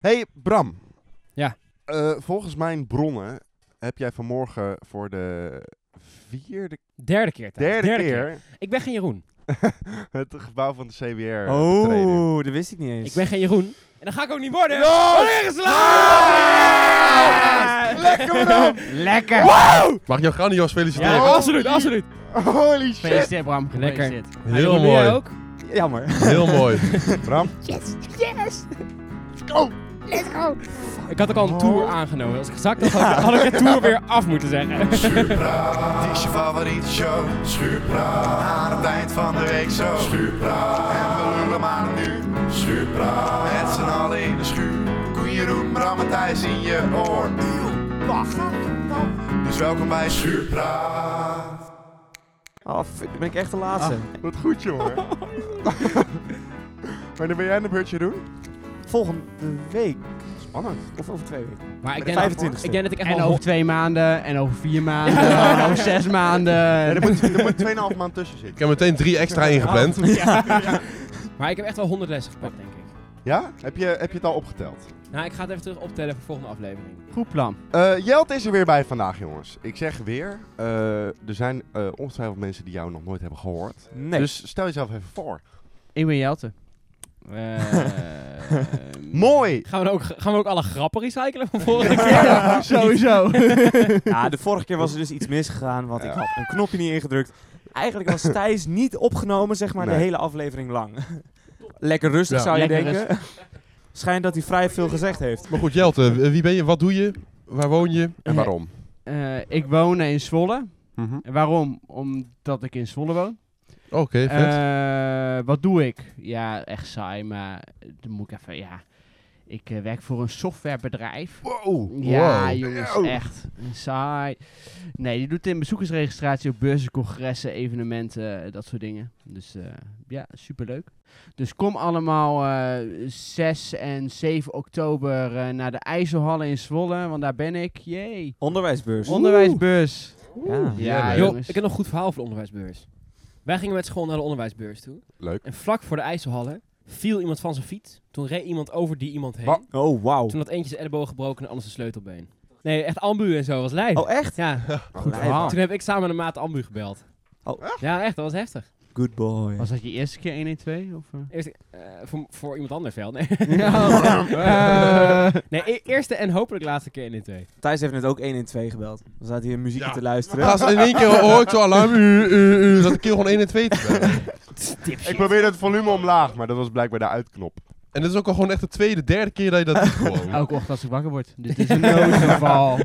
Hey Bram. Ja. Eh, volgens mijn bronnen heb jij vanmorgen voor de vierde, Derde keer. derde, trouwens. keer, Ik ben geen Jeroen. het gebouw van de CBR betreden. Oh, dat wist ik niet eens. Ik ben geen Jeroen. En dan ga ik ook niet worden. Oh, Ja! Wanneer is het Ja! laat? Lekker Bram! Lekker! Mag ik jou grandioos feliciteren? Ja, absoluut, absoluut. Holy shit! Gefeliciteerd Bram. Lekker. Gefeliciteerd. Heel Jeroen, jij mooi. ook? Jammer. Heel mooi. Bram, Ik had ook Oh. al een tour aangenomen. Als ik gezakt had, had ik- had ik de tour weer af moeten zeggen. Schuurpraat, het is je favoriete show. Schuurpraat, aan het eind van de week zo. Schuurpraat, en we lullen maar nu. Schuurpraat, met z'n allen in de schuur. Koen, Jeroen, Bram en Thijs in je oor. Eeuw, wacht. Dus welkom bij Schuurpraat. Oh, fuck, ben ik echt de laatste. wat goed jongen. Wanneer ben jij aan de beurt Jeroen? Volgende week, Spannend. of over twee weken. Maar ik de denk, dat- 25e. ik denk dat ik echt En wel over twee maanden, en over vier maanden, en over zes maanden. Ja, er moet, er moet 2,5 maand tussen Ik zitten. heb meteen drie extra ingepland. Oh, Maar ik heb echt wel 100 lessen gepakt, denk ik. Ja? Heb je, heb je het al opgeteld? Nou, ik ga het even terug optellen voor de volgende aflevering. Goed plan. Eh Jelt is er weer bij vandaag jongens. Ik zeg weer, eh, er zijn eh, ongetwijfeld mensen die jou nog nooit hebben gehoord. Nee. Dus stel jezelf even voor. Ik ben Jelte. Eh, Mooi! Gaan we, dan ook, gaan we ook alle grappen recyclen van vorige keer? Sowieso. ja, de vorige keer was er dus iets misgegaan, want Ja. ik had een knopje niet ingedrukt. Eigenlijk was Thijs niet opgenomen, zeg maar, de Nee. hele aflevering lang. Lekker rustig Ja. zou je Lekker denken. Schijnt dat hij vrij veel gezegd heeft. Maar goed, Jelte, w- wie ben je? Wat doe je? Waar woon je? En waarom? Eh, ik woon in Zwolle. Mhm. En Waarom? Omdat ik in Zwolle woon. Oké, vet. Eh, wat doe ik? Ja, echt saai, maar dan moet ik even, ja. Ik eh, werk voor een softwarebedrijf. Wow! Ja, Wow. jongens, Yo. echt. Saai. Nee, die doet in bezoekersregistratie op beurzen, congressen, evenementen, eh, dat soort dingen. Dus eh, ja, superleuk. Dus kom allemaal eh 6 en 7 oktober eh, naar de IJsselhallen in Zwolle, want daar ben ik. Jee. Onderwijsbeurs. Onderwijsbeurs. Ja. Ja, Heerlijk. Joh, jongens. ik heb nog een goed verhaal voor de onderwijsbeurs. Wij gingen met school naar de onderwijsbeurs toe. Leuk. En vlak voor de IJsselhallen viel iemand van zijn fiets. Toen reed iemand over die iemand heen. Wat? Oh, wauw. Toen had eentje zijn elleboog gebroken en de ander zijn sleutelbeen. Nee, echt ambu en zo, was lijf. Oh, echt? Ja, Goed verhaal. toen heb ik samen met een maat ambu gebeld. Oh. Ja, echt, dat was heftig. Good boy. Was dat je eerste keer 112? Of, eh? Eerst, eh, voor, voor iemand anders wel, nee. Eh, nee, e- eerste en hopelijk laatste keer in dit twee. Thijs heeft net ook 1 en 2 gebeld. Dan staat hier muziekje Ja. te luisteren. Gaas, in één keer hoor ik zo'n alarm. U, u, u, dat ik keer gewoon 1 en 2 te bellen. Ik probeerde het volume omlaag, maar dat was blijkbaar de uitknop. En dit is ook al gewoon echt de tweede, derde keer dat je dat doet gewoon. Elke ochtend als ik wakker word. Dit is een noodgeval.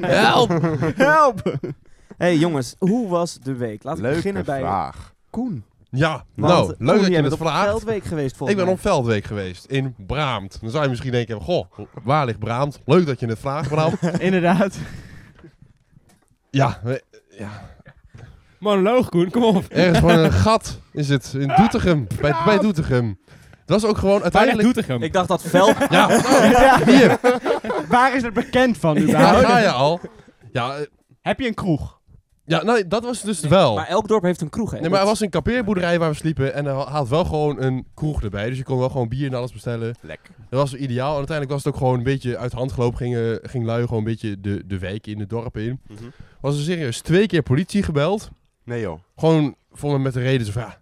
Help! Help! hey jongens, hoe was de week? Laten we Leuke beginnen bij vraag. Koen. Ja, Want, nou, Koen, leuk dat jij je bent het op vraagt. Veldweek geweest Ik volgens ben mij. op Veldweek geweest, in Braamt. Dan zou je misschien denken, goh, waar ligt Braamt? Leuk dat je het vraagt, Bram. Inderdaad. Ja, we- ja, Monoloog, Koen, kom op. Ergens gewoon een gat is het. In Doetinchem. Bij, bij Doetinchem. Dat was ook gewoon Uiteindelijk uiteindelijk... doet hem. Ik dacht dat veld... Ja, hier. Waar is het bekend van nu? Daar ga je al. Ja, eh, Heb je een kroeg? ja nou, dat was het dus wel. Maar elk dorp heeft een kroeg, hè? Nee, maar er was een kampeerboerderij waar we sliepen. En er ha- had wel gewoon een kroeg erbij. Dus je kon wel gewoon bier en alles bestellen. Lekker. Dat was ideaal. En uiteindelijk was het ook gewoon een beetje uit de hand gelopen. Ging, eh, ging lui gewoon een beetje de, de wijk in, de dorpen in. Mhm. Was er serieus twee keer politie gebeld. Nee joh. Gewoon voor me met de reden zo van, ja,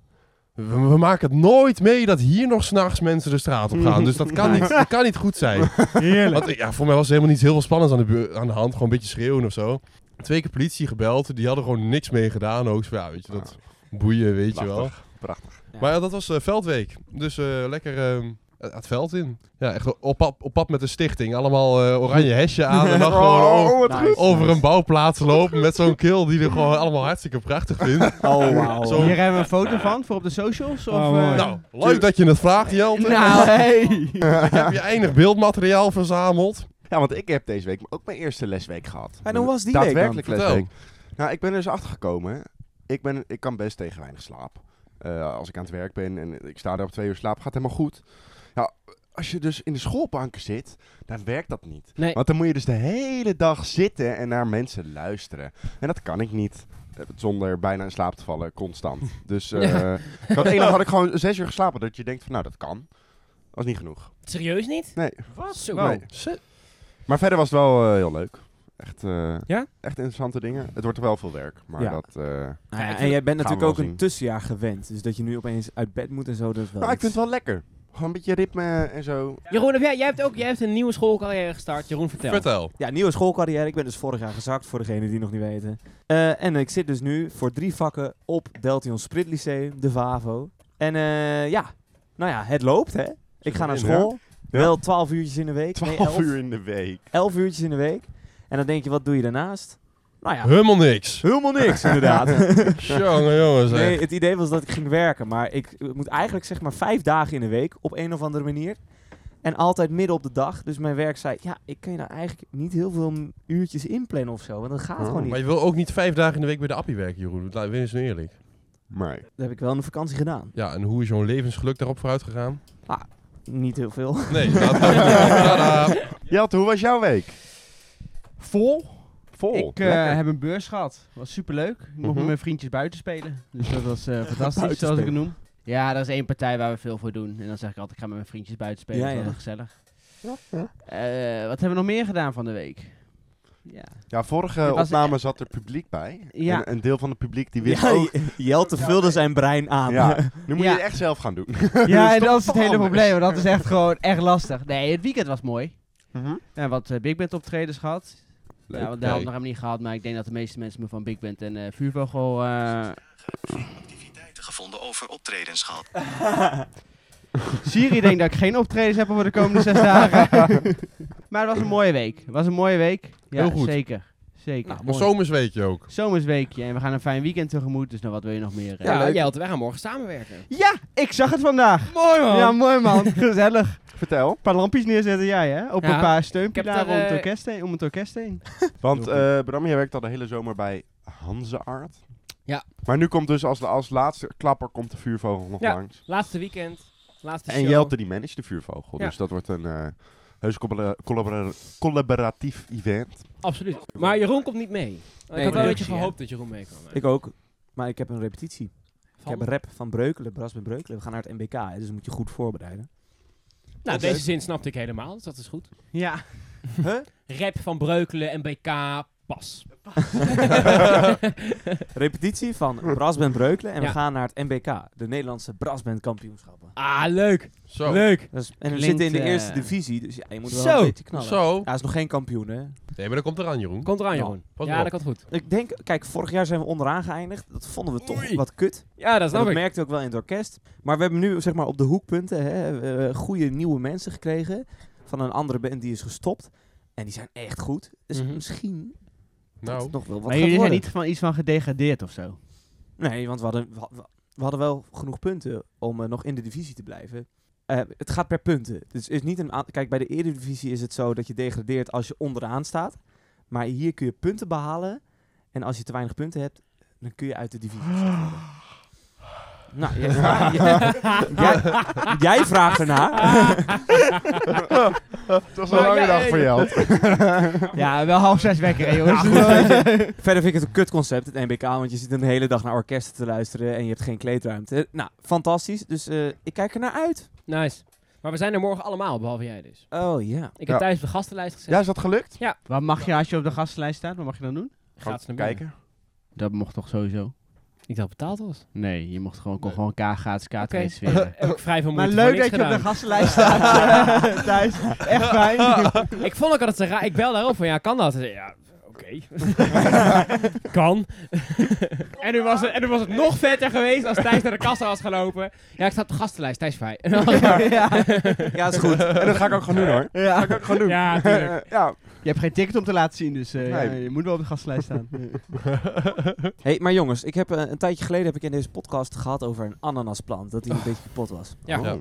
we, we maken het nooit mee dat hier nog s'nachts mensen de straat op gaan. Dus dat kan niet, dat kan niet goed zijn. Heerlijk. Want, eh, ja, voor mij was er helemaal niet heel veel spannends aan de, beur- aan de hand. Gewoon een beetje schreeuwen of zo. Twee keer politie gebeld. Die hadden gewoon niks mee gedaan. Ook zo, ja, weet je, dat boeien, weet je wel. Ah. Prachtig, Prachtig. Maar ja, dat was eh, Veldweek. Dus eh, lekker ehm, het het veld in. Ja, echt op pad, op pad met de stichting. Allemaal eh, oranje hesje aan. En dan gewoon Oh, o- wat Nou, Nice, goed. over nice. een bouwplaats lopen met zo'n kill die er gewoon allemaal hartstikke prachtig vindt. Oh, wauw. Zo. Hier hebben we een foto van voor op de socials. Of, Oh, eh, mooi. Nou, leuk dat je het vraagt, Jelte. nou, hey. Ik heb je eindig beeldmateriaal verzameld. Ja, want ik heb deze week ook mijn eerste lesweek gehad. En hoe was die Daadwerkelijk week dan? lesweek. Nou, ik ben er dus achter gekomen. Ik, ben, ik kan best tegen weinig slaap. Eh, als ik aan het werk ben en ik sta er op twee uur slaap, gaat helemaal goed. Ja, als je dus in de schoolbanken zit, dan werkt dat niet. Nee. Want dan moet je dus de hele dag zitten en naar mensen luisteren. En dat kan ik niet. eh, Zonder bijna in slaap te vallen, constant. Dus eh, ik had één dag had ik gewoon zes uur geslapen. Dat je denkt van, nou, dat kan. was niet genoeg. Serieus niet? Nee. Wat? Nou. Zo. Nee. Maar verder was het wel eh, heel leuk. Echt, eh, Ja? echt interessante dingen. Het wordt wel veel werk, maar Ja. dat... eh, Nou Ja, ja, ik en vind- jij gaan bent we natuurlijk ook wel een zien. tussenjaar gewend. Dus dat je nu opeens uit bed moet en zo, dat is wel nou, ik iets. vind het wel lekker. Gewoon een beetje ritme en zo. Jeroen, heb jij, jij hebt ook jij hebt een nieuwe schoolcarrière gestart. Jeroen, vertel. Vertel. Ja, nieuwe schoolcarrière. Ik ben dus vorig jaar gezakt, voor degenen die nog niet weten. Eh, en ik zit dus nu voor drie vakken op Deltion Sprit Lyceum, de VAVO. En eh, ja, nou ja, het loopt hè. Ik ga naar erin, hè? school. Ja. Wel twaalf uurtjes in de week. nee, 12 elf. uur in de week. Elf uurtjes in de week. En dan denk je, wat doe je daarnaast? Nou ja, Helemaal niks. helemaal niks inderdaad. Jongen, jongens. hè. Nee, het idee was dat ik ging werken, maar ik eh, moet eigenlijk zeg maar vijf dagen in de week op een of andere manier. En altijd midden op de dag. Dus mijn werk zei, ja, ik kan je nou eigenlijk niet heel veel m- uurtjes inplannen of zo. Want dat gaat Oh, gewoon niet. Maar je wil ook niet vijf dagen in de week bij de appie werken, Jeroen. Laat- Wees nu eerlijk. Maar Dat heb ik wel in de vakantie gedaan. Ja, en hoe is jouw levensgeluk daarop vooruit gegaan? Niet heel veel. Nee, laat Tadaa. Jelte, hoe was jouw week? Vol. Vol. ik eh, Oh, Lekker. heb een beurs gehad. Was superleuk. Nog met Mhm. mijn vriendjes buiten spelen. Dus dat was eh, fantastisch, zoals ik Buitenspelen. het noem. Ja, er is één partij waar we veel voor doen. En dan zeg ik altijd, ik ga met mijn vriendjes buiten spelen. Ja, dat is ja. wel gezellig. Eh, wat hebben we nog meer gedaan van de week? Ja. Ja, vorige was- opname zat er publiek bij. Ja. En een deel van het publiek die wist Ja, ook... J- Jelte vulde zijn brein aan. Ja, nu moet Ja. je het echt zelf gaan doen. Ja, en toch dat is het wel anders. hele probleem. want Dat is echt gewoon echt lastig. Nee, het weekend was mooi. Mhm. En wat eh, Big Band optredens gehad. Leuk. Ja, want daar hebben Leuk. we nog helemaal niet gehad. Maar ik denk dat de meeste mensen me van Big Band en eh, Vuurvogel... eh, Activiteiten gevonden over optredens gehad. Siri denkt dat ik geen optredens heb voor de komende zes dagen. maar het was een mooie week. Het was een mooie week. Ja, Heel goed. zeker. Zeker. Nou, maar Ah, Mooi. zomersweetje ook. Zomersweekje. En we gaan een fijn weekend tegemoet. Dus nou, wat wil je nog meer? eh? Ja, Jelte, wij gaan morgen samenwerken. Ja, ik zag het vandaag. Mooi man. Ja, mooi man. Gezellig. Vertel. Een paar lampjes neerzetten jij, hè? Op Ja. een paar Ik heb steunpilaren daar, om, het eh, orkest heen, om het orkest heen. Want Heel eh Bram, jij werkt al de hele zomer bij Hanzeart. Ja. Maar nu komt dus als, als laatste klapper komt de vuurvogel nog Ja. langs. Laatste weekend. Laatste En show. Jelte die manage de vuurvogel. Ja. Dus dat wordt een eh heus collabora- collabora- collaboratief event. Absoluut. Maar Jeroen komt niet mee. ik had wel een nee, beetje nee. gehoopt dat Jeroen mee kwam. hè. Ik ook. Maar ik heb een repetitie. Ik Van- heb een rap van Breukelen, Bras met Breukelen. We gaan naar het MBK, hè, dus moet je goed voorbereiden. nou, Dat is deze zin snapte ik helemaal, dus dat is goed. Ja. Rap van Breukelen en BK pas. Repetitie van Brasband Breukelen en Ja. we gaan naar het MBK, de Nederlandse Brasband Kampioenschappen. ah, leuk. Zo. Leuk. Dat is- en we Klinkt, zitten in de eh, eerste divisie, dus ja, je moet wel Zo. een beetje knallen. Zo. Ja, hij is nog geen kampioen, hè? Nee, maar dat komt eraan, Jeroen. Komt eraan, Nou, Jeroen. pas ja, maar dat komt goed. Ik denk, kijk, vorig jaar zijn we onderaan geëindigd. Dat vonden we toch Oei. wat kut. Ja, dat En snap dat ik. merkte ook wel in het orkest. Maar we hebben nu zeg maar, op de hoekpunten hè, eh, goede nieuwe mensen gekregen. Van een andere band die is gestopt. En die zijn echt goed. Dus Mhm. misschien dat Nou, het nog wel wat maar gaat jullie zijn worden. niet van iets van gedegradeerd of zo. Nee, want we hadden, we, had- we hadden wel genoeg punten om eh, nog in de divisie te blijven. Eh, het gaat per punten. Dus is niet een aan- Kijk, bij de Eredivisie is het zo dat je degradeert als je onderaan staat. Maar hier kun je punten behalen. En als je te weinig punten hebt, dan kun je uit de divisie gezet worden. Nou, jij, jij- jij vraagt ernaar. Het was een Maar lange ja, eh, dag ja, voor ja. Jelte. Ja, wel half zes wekker, hè, jongens. Verder vind ik het een kut concept, het NBK. Want je zit een hele dag naar orkesten te luisteren en je hebt geen kleedruimte. Nou, fantastisch. Dus eh, ik kijk er naar uit. Nice. Maar we zijn er morgen allemaal, behalve jij dus. Oh ja. Ik heb Ja. thuis op de gastenlijst gezet. Ja, is dat gelukt? Wat mag je als je op de gastenlijst staat? Wat mag je dan doen? Gaat ze naar binnen. Kijken. Dat mocht toch sowieso? Ik dacht betaald was. Nee, je mocht gewoon, kon Nee. gewoon ka gratis kaart Oké. Heb ik vrij veel Maar moeite leuk dat je gedaan. op de gastenlijst staat thuis. Echt fijn. Ik vond ook altijd zo raar. Ik belde daarop van, ja, kan dat? Ze zei, Ja, oké. kan. en, nu was het, en nu was het nog vetter geweest als Thijs naar de kassa was gelopen. Ja, ik sta op de gastenlijst, Thijs vrij. Ja, is goed. En dat ga ik ook gewoon doen hoor. Ja. Dat ga ik ook gewoon doen. ja, tuurlijk. Eh, ja. Je hebt geen ticket om te laten zien, dus eh, Nee. ja, je moet wel op de gastenlijst staan. Hey, maar jongens, ik heb, eh, een tijdje geleden heb ik in deze podcast gehad over een ananasplant. Dat hij een beetje kapot was. Ja. Oh.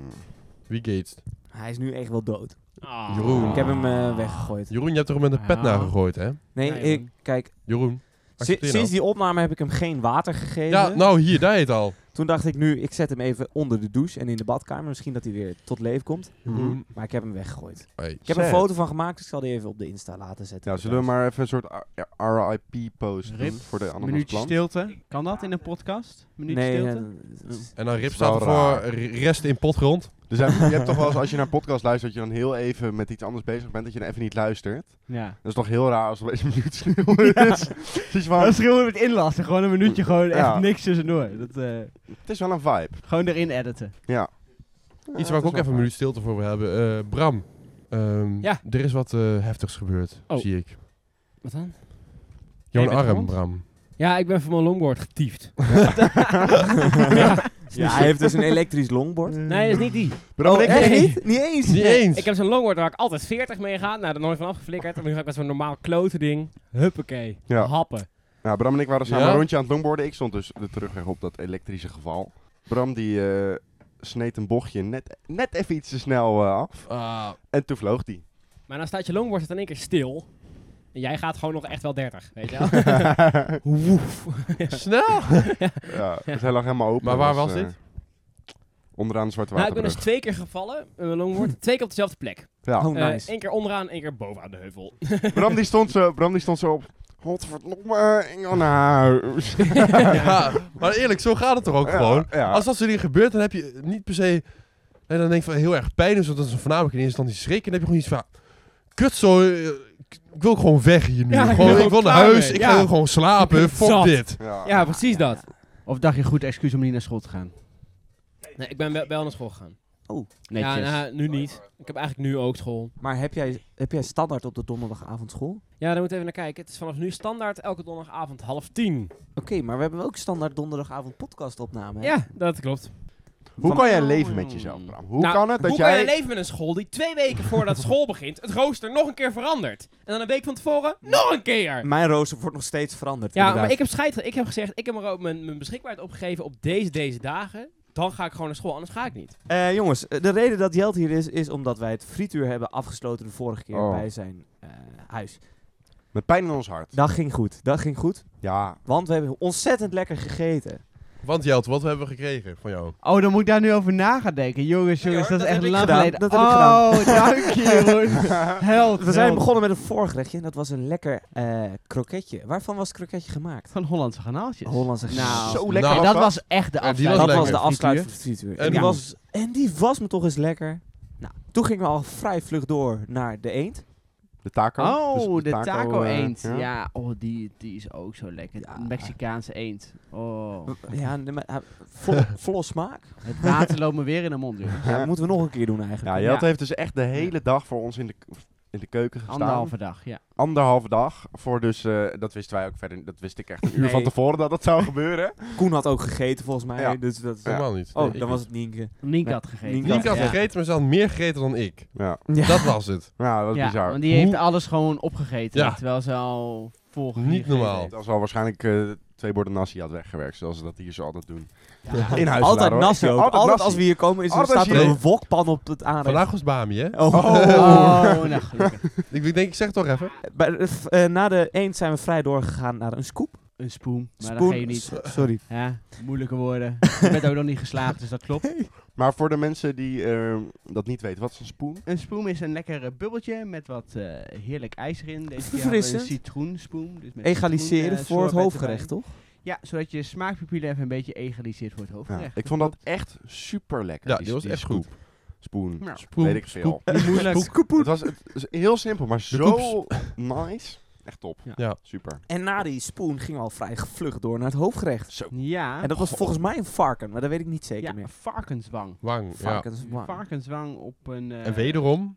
wie gates? Hij is nu echt wel dood. Ah. Jeroen. Ik heb hem eh, weggegooid. Jeroen, je hebt er met een pet Ja. naar gegooid, hè? Nee, Ja, ik, jongen. kijk, Jeroen. si- accepteer sinds dat. die opname heb ik hem geen water gegeven. Ja, nou, hier, daar heet al. Toen dacht ik nu, ik zet hem even onder de douche en in de badkamer. Misschien dat hij weer tot leven komt. Mhm. Mm-hmm. Jeroen. Maar ik heb hem weggegooid. Hey. Ik heb een Sad. foto van gemaakt, dus ik zal die even op de Insta laten zetten. Ja, zullen we maar even een soort RIP post doen Rip. Dus voor de Minuutje ananasplan? stilte. Kan dat in een podcast? Minuutje Nee, stilte? eh, het is- En dan Rip is wel staat er voor raar. r- rest in potgrond. Dus heb- je hebt toch wel eens, als je naar een podcast luistert, dat je dan heel even met iets anders bezig bent, dat je dan even niet luistert. Ja. Dat is toch heel raar als er opeens een minuut sneeuw is. Het is, Dan van, schreeuwen we het inlassen. Gewoon een minuutje, gewoon echt Ja. niks tussendoor. Dat, eh, het is wel een vibe. gewoon erin editen. Iets waar ik ook even een minuut stilte voor wil hebben. Eh, Bram, ehm, Ja. er is wat eh, heftigs gebeurd, Oh. zie ik. Wat dan? Jouw Jij bent arm, gewond? Bram. Ja, ik ben van mijn longboard getiefd. Ja, hij heeft dus een elektrisch longboard. Nee, dat is niet die. Bram, ik echt nee. niet? Niet eens? Niet Nee, eens. Ik heb zo'n longboard waar ik altijd 40 mee ga. Nou, daar nooit van afgeflikkerd. En nu ga ik met zo'n normaal klote ding. Huppakee. Ja. Happen. Ja, Nou, Bram en ik waren samen Ja? een rondje aan het longboarden. Ik stond dus de terugweg op dat elektrische geval. Bram die eh, sneed een bochtje net, net even iets te snel eh, af. Ah, En toen vloog die. Maar dan staat je longboard staat in één keer stil. En jij gaat gewoon nog echt wel 30. Weet je wel? Nou, Woef. snel! ja, dus hij lag helemaal open. Maar waar was eh, dit? Onderaan de Zwarte Nou, ik ben Waterbrug. dus twee keer gevallen met mijn longboard. Twee keer op dezelfde plek. Ja. Oh, Eh, nice. Eén keer onderaan, één keer bovenaan de heuvel. Bram, die stond zo, Bram die stond zo op. Godverdomme, ik wil naar huis. ja, maar eerlijk, zo gaat het toch ook gewoon? Ja, ja. Als dat soort dingen gebeurt, dan heb je niet per se... En dan denk je van heel erg pijn is, want dat is voornamelijk in eerste instantie schrik. En dan heb je gewoon iets van... Kut zo, eh, ik ik wil gewoon weg hier nu. Ja, ik ben gewoon, er ik wil ook naar klaar huis, mee. ik Ja. wil gewoon slapen, Ik ben fuck zat. dit. Ja. Ja, precies dat. Of dacht je goed excuus om niet naar school te gaan? Nee, ik ben wel, wel naar school gegaan. Netjes. Ja, nou, nu niet. Ik heb eigenlijk nu ook school. Maar heb jij, heb jij standaard op de donderdagavond school? Ja, daar moeten we even naar kijken. Het is vanaf nu standaard elke donderdagavond half tien. Oké, maar we hebben ook standaard donderdagavond podcastopname. hè? Ja, dat klopt. Hoe kan jij leven met jezelf, Bram? Hoe Nou, kan het dat hoe kan jij... je leven met een school die twee weken voordat school begint het rooster nog een keer verandert? En dan een week van tevoren nog een keer! Mijn rooster wordt nog steeds veranderd. Ja, inderdaad. maar ik heb scheid. ge- Ik heb gezegd, ik heb er ook mijn, mijn beschikbaarheid opgegeven op deze, deze dagen. Dan ga ik gewoon naar school, anders ga ik niet. Eh, jongens, eh, de reden dat Jelt hier is, is omdat wij het frietuur hebben afgesloten de vorige keer Oh. bij zijn eh, huis. Met pijn in ons hart. Dat ging goed, dat ging goed. Ja. Want we hebben ontzettend lekker gegeten. Want Jelt, wat hebben we gekregen van jou? Oh, dan moet ik daar nu over na gaan denken. Jongens, Nee jongens, hoor, dat dat is echt heb lang ik gedaan. geleden. Dat heb ik oh, dank je, Jeroen. Held. We zijn held. begonnen met een voorgerechtje en dat was een lekker eh kroketje. Waarvan was het kroketje gemaakt? Van Hollandse garnaaltjes. Hollandse Nou, Zo lekker En Nou, was dat dat. was echt de Ja, die afsluiting. dat was lekker. de afsluiting. afsluiting van het frituur. En En die, hoe- was, en die was me toch eens lekker. Nou, toen gingen we al vrij vlug door naar de eend. De taco. Dus Oh, de taco eh, eend. ja. Ja, oh, die, die is ook zo lekker. Ja. De Mexicaanse eend. Oh. Ja, nee, maar, eh, volle, volle smaak. Het water loopt me weer in de mond, jongens. Ja, dat moeten we nog een keer doen Ja, eigenlijk. Jelt Ja. heeft dus echt de hele dag voor ons in de, in de keuken gestaan. Anderhalve dag, ja. Anderhalve dag. Voor dus, eh, dat wisten wij ook verder, niet. dat wist ik echt een uur Nee. van tevoren dat dat zou gebeuren. Koen had ook gegeten volgens mij. Ja. Dus dat is Ja. Helemaal niet. Oh, Ik dan niet. was het Nienke. Nienke Nee, had gegeten. Nienke Nienke had Ja. gegeten, maar ze had meer gegeten dan ik. Ja, Ja. Dat was het. ja dat was Ja, bizar. want die heeft Hoe- alles gewoon opgegeten. Ja. Terwijl ze al vol Niet gegeten normaal. heeft. Dat zal waarschijnlijk eh, twee borden nasi had weggewerkt, zoals ze dat hier zo altijd doen. Ja. In huis Altijd nasi ook. Altijd, nasi. als we hier komen is er, Altijd staat er hier. een wokpan op het aanrecht. Vandaag was Bami, hè? Oh. Oh, nou gelukkig. Ik denk, ik zeg het toch even. Bij de- f- eh, na de eend zijn we vrij doorgegaan naar een scoop. Een spoen, maar dat Spoon- ga je niet. S- Sorry. Ja, moeilijke woorden. Je bent ook nog niet geslaagd, dus dat klopt. Maar voor de mensen die eh, dat niet weten, wat is een spoen? Een spoen is een lekker eh, bubbeltje met wat eh, heerlijk ijs erin. Deze keer hadden we Verfrissend. een citroenspoen. Dus met citroen, Egaliseren eh, voor het sorbet hoofdgerecht, toch? erbij. Ja, zodat je smaakpapillen even een beetje egaliseert voor het Ja, hoofdgerecht. ik vond dat echt super lekker. Ja, die was echt goed. Spoen. Nou. Spoen, Weet ik veel. spoen, moeilijk. spoen. Het was het, is heel simpel, maar zo nice. Echt top. Ja. Ja. Super. En na die spoen gingen we al vrij vlug door naar het hoofdgerecht. Zo. Ja, En dat was volgens mij een varken, maar dat weet ik niet zeker ja, meer. varkenswang. Wang, ja. Varkenswang. Varkenswang op een... eh, En wederom,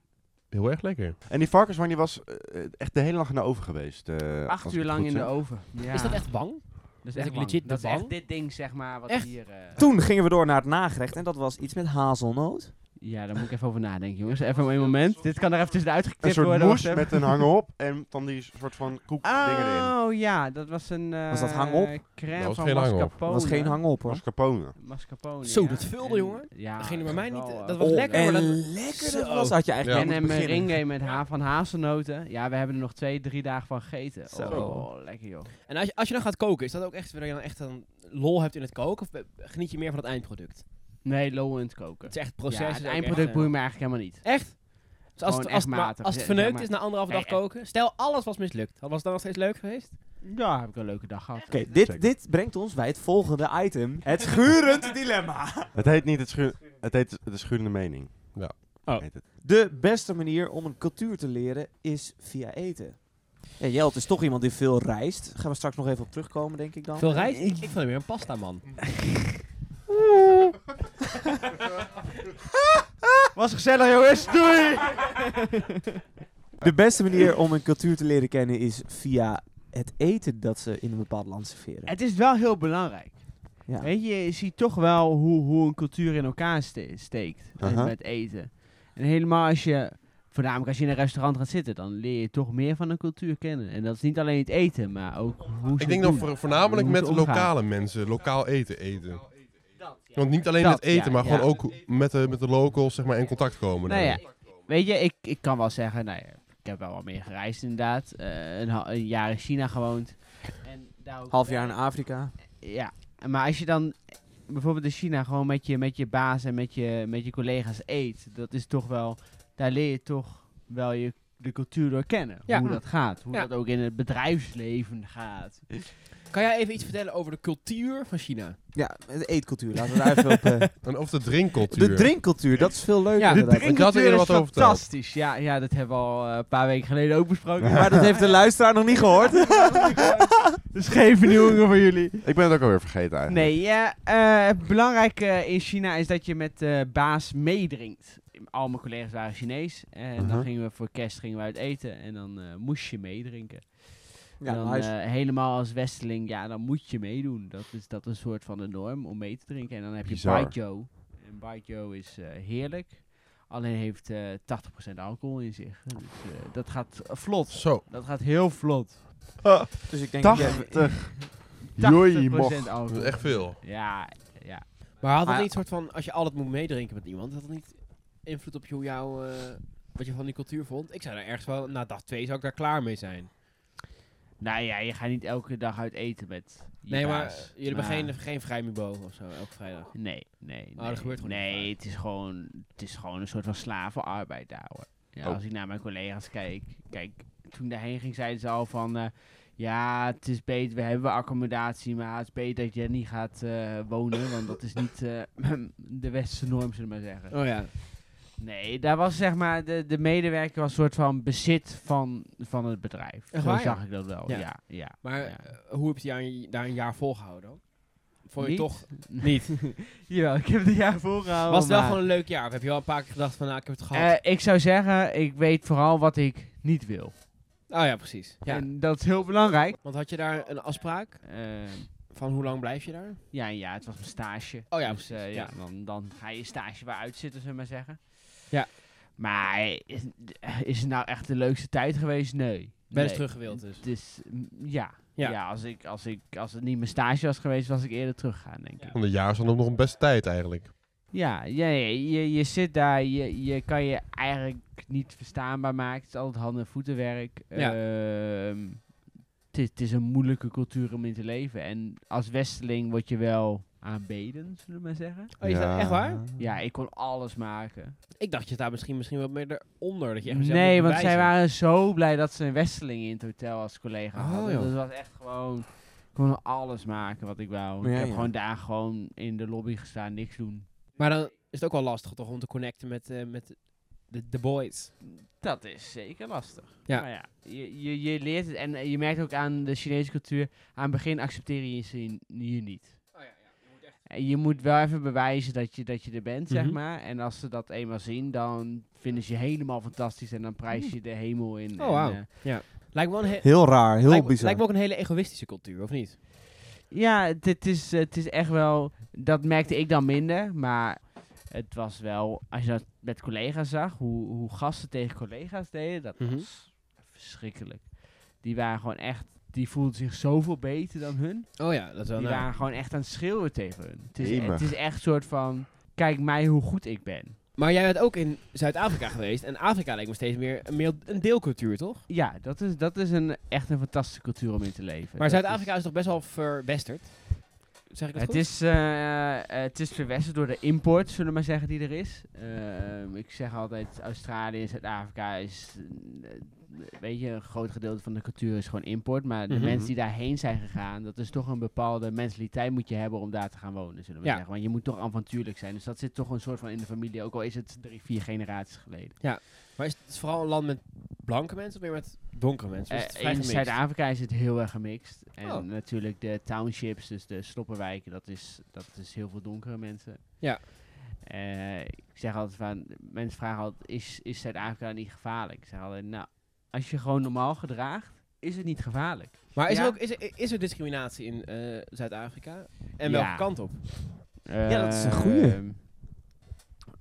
heel erg lekker. En die varkenswang die was eh, echt de hele dag in de oven geweest. eh, Acht als ik uur het lang goed in de zeg. oven. Ja. Is dat echt bang? Dat is Dat echt ik lang. legit de Dat is echt bang? dit ding, zeg maar, wat Echt? hier... eh, Toen gingen we door naar het nagerecht en dat was iets met hazelnoot. ja, daar moet ik even over nadenken, jongens. Even een moment. Dit kan er even tussenuit Een geknipt soort worden. moes wacht even. met een hangen op en dan die soort van koek dingen erin. Oh ja, dat was een. eh, Was dat hang-op? Crème Dat was van geen Dat hang-op. Oh, mascarpone. was geen hang op hoor. Mascarpone. Mascarpone. Zo, ja. dat vulde, En- jongen. Ja. Dat ging er bij mij niet, wel, eh, eh, dat was lekker, en maar dat- lekker dat Zo. was, had je eigenlijk Ja. niet En moeten een beginnen. meringue met ha van hazelnoten. Ja, we hebben er nog twee, drie dagen van gegeten. Zo. Oh, lekker joh. En als je, als je dan gaat koken, is dat ook echt waar je dan echt een lol hebt in het koken? Of be- geniet je meer van het eindproduct? Nee, low in het koken. Het is echt het proces. Ja, is het ook eindproduct echt, boeit me eigenlijk helemaal niet. eh, Echt? Dus als, Gewoon het, echt als, het, maar- matig. als het Zeg verneukt maar- is na anderhalve dag Nee, echt. koken, stel alles was mislukt. Was het dan nog steeds leuk geweest? Ja, heb ik een leuke dag gehad. Oké, dit, dit brengt ons bij het volgende item. Het schurend dilemma. Het heet niet het schuur. Het heet De Schurende Mening. Ja. Oh. Heet het. De beste manier om een cultuur te leren is via eten. Ja, Jelt is toch iemand die veel reist. Gaan we straks nog even op terugkomen, denk ik dan. Veel rijst? Ik vind hem weer een pasta, man. Was gezellig, jongens. Doei! De beste manier om een cultuur te leren kennen is via het eten dat ze in een bepaald land serveren. Het is wel heel belangrijk. Ja. Weet je, je ziet toch wel hoe, hoe een cultuur in elkaar ste- steekt met- Aha. met eten. En helemaal als je, voornamelijk als je in een restaurant gaat zitten, dan leer je toch meer van een cultuur kennen. En dat is niet alleen het eten, maar ook hoe ze Ik denk het dan doen. voor- voornamelijk Hoe met ze omgaan. lokale mensen, lokaal eten eten. Want niet alleen Dat, het eten, ja, maar ja. gewoon ook met de, met de locals zeg maar, in contact komen. Nou dan. ja, weet je, ik, ik kan wel zeggen, nou ja, ik heb wel wat meer gereisd inderdaad. Eh, een, ha- een jaar in China gewoond. En daar ook Half jaar in Afrika. Ja, maar als je dan bijvoorbeeld in China gewoon met je, met je baas en met je, met je collega's eet, dat is toch wel, daar leer je toch wel je, de cultuur door kennen. Ja. Hoe dat gaat, hoe Ja. dat ook in het bedrijfsleven gaat. Kan jij even iets vertellen over de cultuur van China? Ja, de eetcultuur. Laten we daar even op... eh, En of de drinkcultuur. de drinkcultuur, dat is veel leuker. Ja, de inderdaad. drink- had er is wat over verteld. fantastisch. Ja, ja, dat hebben we al eh, een paar weken geleden ook besproken. Maar dat heeft de luisteraar nog niet gehoord. dus geen vernieuwingen voor jullie. Ik ben het ook alweer vergeten eigenlijk. Nee, ja, eh, belangrijk eh, in China is dat je met de baas meedrinkt. Al mijn collega's waren Chinees. En Mhm. dan gingen we voor kerst gingen we uit eten. En dan eh, moest je meedrinken. Ja, En dan, nice. eh, helemaal als westeling, ja, dan moet je meedoen. Dat is, dat is een soort van de norm om mee te drinken. En dan heb je Bizar. Baijiu. En Baijiu is eh, heerlijk. Alleen heeft eh 80% alcohol in zich. Dus, eh, dat gaat vlot. Zo. Dat gaat heel vlot. Dus ik denk... dat jij- 80. 80% Joi, mocht. Dat alcohol. is echt veel. Ja, ja. Maar had het Ah, ja. niet soort van, als je altijd moet meedrinken met iemand, had het niet invloed op jou, jouw, eh, wat je van die cultuur vond? Ik zou daar ergens wel, na dag twee zou ik daar klaar mee zijn. Nou ja, je gaat niet elke dag uit eten met je nee, maar baas. jullie hebben Maar- geen, geen vrijmibo of zo, elke vrijdag. Nee, nee, nee. dat gebeurt gewoon niet Nee, vaak. het is gewoon, het is gewoon een soort van slavenarbeid daar hoor. Ja, Oh. Als ik naar mijn collega's kijk, kijk, toen ik daarheen ging, zeiden ze al van... eh, ja, het is beter, we hebben accommodatie, maar het is beter dat je er niet gaat eh, wonen, want dat is niet eh, de westerse norm, zullen we maar zeggen. Oh ja. Nee, daar was zeg maar, de, de medewerker was een soort van bezit van, van het bedrijf. Echt Zo waar, ja? zag ik dat wel, Ja. ja. ja, Maar Ja. eh, hoe heb je daar een, daar een jaar volgehouden dan? Vond je Niet? toch niet? Jawel, ik heb het jaar volgehouden. Was het wel maar- gewoon een leuk jaar? Of heb je wel een paar keer gedacht van, nou, ik heb het gehad? Eh, ik zou zeggen, ik weet vooral wat ik niet wil. oh ja, precies. Ja. En dat is heel belangrijk. Want had je daar een afspraak Eh, van hoe lang blijf je daar? ja, ja, het was mijn stage. Oh ja, dus, eh, precies, ja, ja. Dan, dan ga je stage weer uitzitten, zullen we maar zeggen. Ja. Maar is, is het nou echt de leukste tijd geweest? Nee. Ben je Nee. terug gewild dus? Dus mm, ja, Ja. ja. als, ik, als, ik, als het niet mijn stage was geweest, was ik eerder teruggegaan, denk ik. Want een jaar is dan ook nog een beste tijd eigenlijk. Ja, ja, ja, je, je zit daar, je, je kan je eigenlijk niet verstaanbaar maken. Het is altijd handen- en voetenwerk. Ja. Ehm, Het is- het is een moeilijke cultuur om in te leven. En als westeling word je wel aanbeden, zullen we maar zeggen. Oh, is dat echt waar? Ja, ik kon alles maken. Ik dacht je staat misschien, misschien wat meer eronder. Dat je echt mezelf Nee, moet want zij bewijzen. waren zo blij dat ze een westeling in het hotel als collega Oh, hadden. joh. Dus dat was echt gewoon... Ik kon alles maken wat ik wou. Ja, ik heb ja. gewoon daar gewoon in de lobby gestaan, niks doen. Maar dan is het ook wel lastig toch om te connecten met, eh, met de, de boys. Dat is zeker lastig. Ja. Maar ja, je, je, je leert het en eh, je merkt ook aan de Chinese cultuur, aan het begin accepteer je ze n- je niet. En Oh Je moet wel even bewijzen dat je, dat je er bent, zeg Mhm. maar. En als ze dat eenmaal zien, dan vinden ze je helemaal fantastisch en dan prijs je de hemel in. Oh, En, wauw. eh, Lijkt me wel een, he- Heel raar, heel lijkt, me- bizar. lijkt me ook een hele egoïstische cultuur, of niet? ja, het, het is, het is echt wel, dat merkte ik dan minder, maar het was wel, als je dat met collega's zag, hoe, hoe gasten tegen collega's deden, dat Mhm. was verschrikkelijk. Die waren gewoon echt, die voelden zich zoveel beter dan hun. Oh ja, dat is wel Die waren gewoon echt aan het schreeuwen tegen hun. Het is, Jemig. het is echt een soort van, kijk mij hoe goed ik ben. Maar jij bent ook in Zuid-Afrika geweest. En Afrika lijkt me steeds meer een, meel- een deelcultuur, toch? Ja, dat is, dat is een, echt een fantastische cultuur om in te leven. Maar Dat is- Zuid-Afrika is toch best wel verwesterd? Zeg ik dat Het goed? is, eh, eh, het is verwesterd door de import, zullen we maar zeggen, die er is. Ehm, ik zeg altijd, Australië en Zuid-Afrika is... eh, weet je, een groot gedeelte van de cultuur is gewoon import. Maar de Mhm. mensen die daarheen zijn gegaan, dat is toch een bepaalde mentaliteit moet je hebben om daar te gaan wonen, zullen we Ja. zeggen. Want je moet toch avontuurlijk zijn. Dus dat zit toch een soort van in de familie, ook al is het drie, vier generaties geleden. Maar is het vooral een land met blanke mensen of meer met donkere mensen? Of is het Eh, vrij in gemixt? Zuid-Afrika is het heel erg gemixt. En Oh. natuurlijk de townships, dus de sloppenwijken, dat is, dat is heel veel donkere mensen. Ja. Eh, ik zeg altijd van, mensen vragen altijd, is, is Zuid-Afrika niet gevaarlijk? Ik zeg altijd, nou, als je gewoon normaal gedraagt, is het niet gevaarlijk. Maar is, Ja. er ook, is, er, is er discriminatie in eh, Zuid-Afrika? En Ja. welke kant op? Ja, dat is een goeie. Ehm,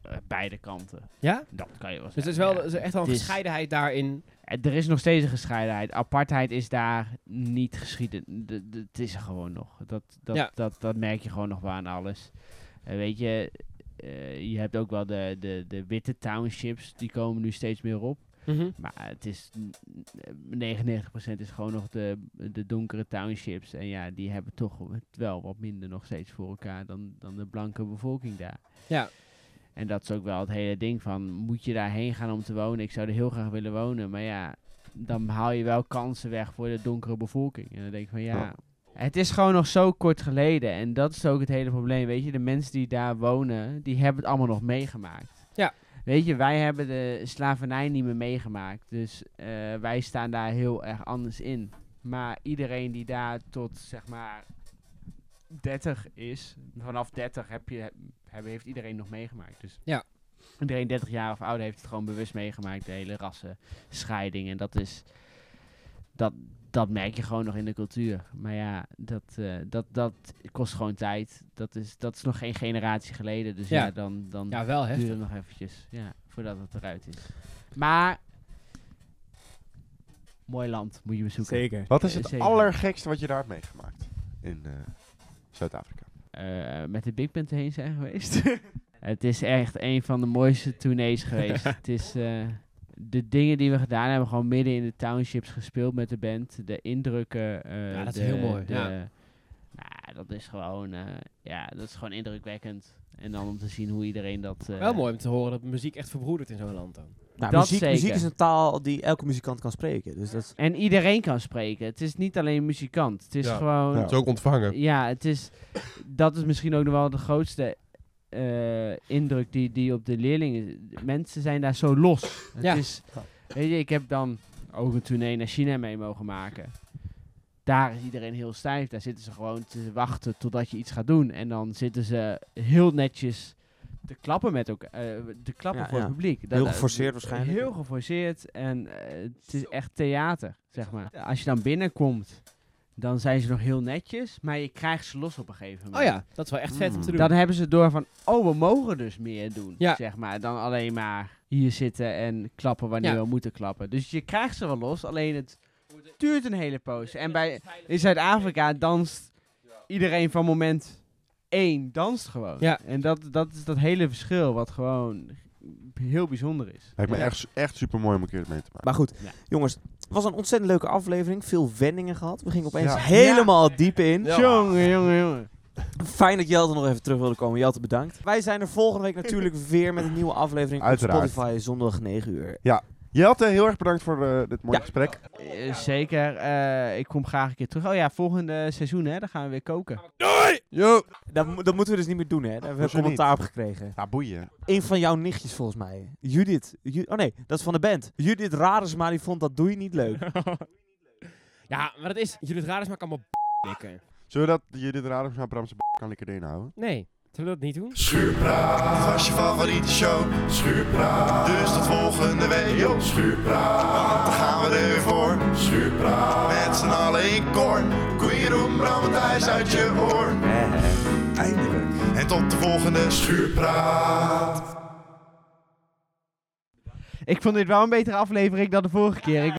eh, beide kanten. Ja? Dat kan je wel Dus zeggen. er is wel ja. er is echt wel een Het is- gescheidenheid daarin. Eh, Er is nog steeds een gescheidenheid. Apartheid is daar niet geschieden. De- de- Het is er gewoon nog. Dat, dat, Ja. dat, dat merk je gewoon nog wel aan alles. Eh, weet je, eh, je hebt ook wel de, de, de witte townships. Die komen nu steeds meer op. Mhm. Maar het is n- n- eh, 99% is gewoon nog de, de donkere townships. En ja, die hebben toch het wel wat minder nog steeds voor elkaar dan, dan de blanke bevolking daar. Ja. En dat is ook wel het hele ding van, moet je daarheen gaan om te wonen? Ik zou er heel graag willen wonen, maar ja, dan haal je wel kansen weg voor de donkere bevolking. En dan denk ik van, ja, Ja. het is gewoon nog zo kort geleden. En dat is ook het hele probleem, weet je. De mensen die daar wonen, die hebben het allemaal nog meegemaakt. Ja. Weet je, wij hebben de slavernij niet meer meegemaakt. Dus eh, wij staan daar heel erg anders in. Maar iedereen die daar tot, zeg maar, 30 is, vanaf 30 heb je, heb, heeft iedereen nog meegemaakt. Dus Ja. iedereen 30 jaar of ouder heeft het gewoon bewust meegemaakt. De hele rassen, scheiding. En dat is. Dat, dat merk je gewoon nog in de cultuur. Maar ja, dat, eh, dat, dat kost gewoon tijd. Dat is, dat is nog geen generatie geleden. Dus ja, Ja. dan, dan Ja, wel duurt heftig. het nog eventjes. Ja, voordat het eruit is. Maar. Mooi land, moet je bezoeken. Zeker. Wat is Eh, het zeker. allergekste wat je daar hebt meegemaakt in eh, Zuid-Afrika? eh, met de Big Band heen zijn geweest. het is echt een van de mooiste tournees geweest. het is eh, de dingen die we gedaan hebben, gewoon midden in de townships gespeeld met de band. De indrukken. eh, Ja, dat is de- heel mooi, de- ja. Nou, dat is gewoon, eh, ja, dat is gewoon indrukwekkend. En dan om te zien hoe iedereen dat. eh, wel mooi om te horen dat muziek echt verbroedert in zo'n land dan. Nou, Dat muziek, zeker. muziek is een taal die elke muzikant kan spreken. Dus dat is En iedereen kan spreken. Het is niet alleen een muzikant. Het is Ja. gewoon. Ja. Het is ook ontvangen. Ja, het is, dat is misschien ook nog wel de grootste eh, indruk die, die op de leerlingen. Mensen zijn daar zo los. Ja. Het is, weet je, ik heb dan ook een tournee naar China mee mogen maken. Daar is iedereen heel stijf. Daar zitten ze gewoon te wachten totdat je iets gaat doen. En dan zitten ze heel netjes te klappen met elkaar. eh, te klappen Ja, voor ja. het publiek. heel geforceerd waarschijnlijk. Heel geforceerd en eh, het is echt theater, zeg maar. Als je dan binnenkomt, dan zijn ze nog heel netjes, maar je krijgt ze los op een gegeven moment. Oh ja, dat is wel echt vet om te doen. Dan hebben ze door van, oh, we mogen dus meer doen, Ja. zeg maar. Dan alleen maar hier zitten en klappen wanneer Ja. we moeten klappen. Dus je krijgt ze wel los, alleen het duurt een hele poos. En bij, in Zuid-Afrika danst iedereen van moment één, danst gewoon. Ja. En dat, dat is dat hele verschil wat gewoon heel bijzonder is. Lijkt me Ja. echt, echt super mooi om een keer mee te maken. Maar goed, Ja. jongens, het was een ontzettend leuke aflevering. Veel wendingen gehad. We gingen opeens Ja. helemaal diep in. Ja. Jongen, jongen, jongen. Fijn dat Jelte nog even terug wilde komen. Jelte, bedankt. Wij zijn er volgende week natuurlijk weer met een nieuwe aflevering op Uiteraard. Spotify zondag 9 uur. Jelte, heel erg bedankt voor eh, dit mooie Ja. gesprek. Eh, zeker. eh, ik kom graag een keer terug. Oh ja, volgende seizoen, hè. Dan gaan we weer koken. Yo! Dat, mo- dat moeten we dus niet meer doen, hè? Daar hebben we Hoezo commentaar op gekregen. Ja, boeien. Een van jouw nichtjes volgens mij. Judith. Ju- oh nee, dat is van de band. Judith Radersma die vond dat doe je niet leuk. ja, maar dat is, jullie het raar is, maar ik kan maar b- likken. Zullen we dat jullie de radar van Bramse b- kan lekker erin houden? Nee, zullen we dat niet doen? Schuurpraat was je favoriete show. Schuurpraat, dus tot volgende week. Yo, schuurpraat, want dan gaan we er weer voor. Schuurpraat, met z'n allen in koor. Koen Jeroen, Bram en Thijs uit je oor. Eh. Eindelijk. En tot de volgende schuurpraat. Ik vond dit wel een betere aflevering dan de vorige keer. Ik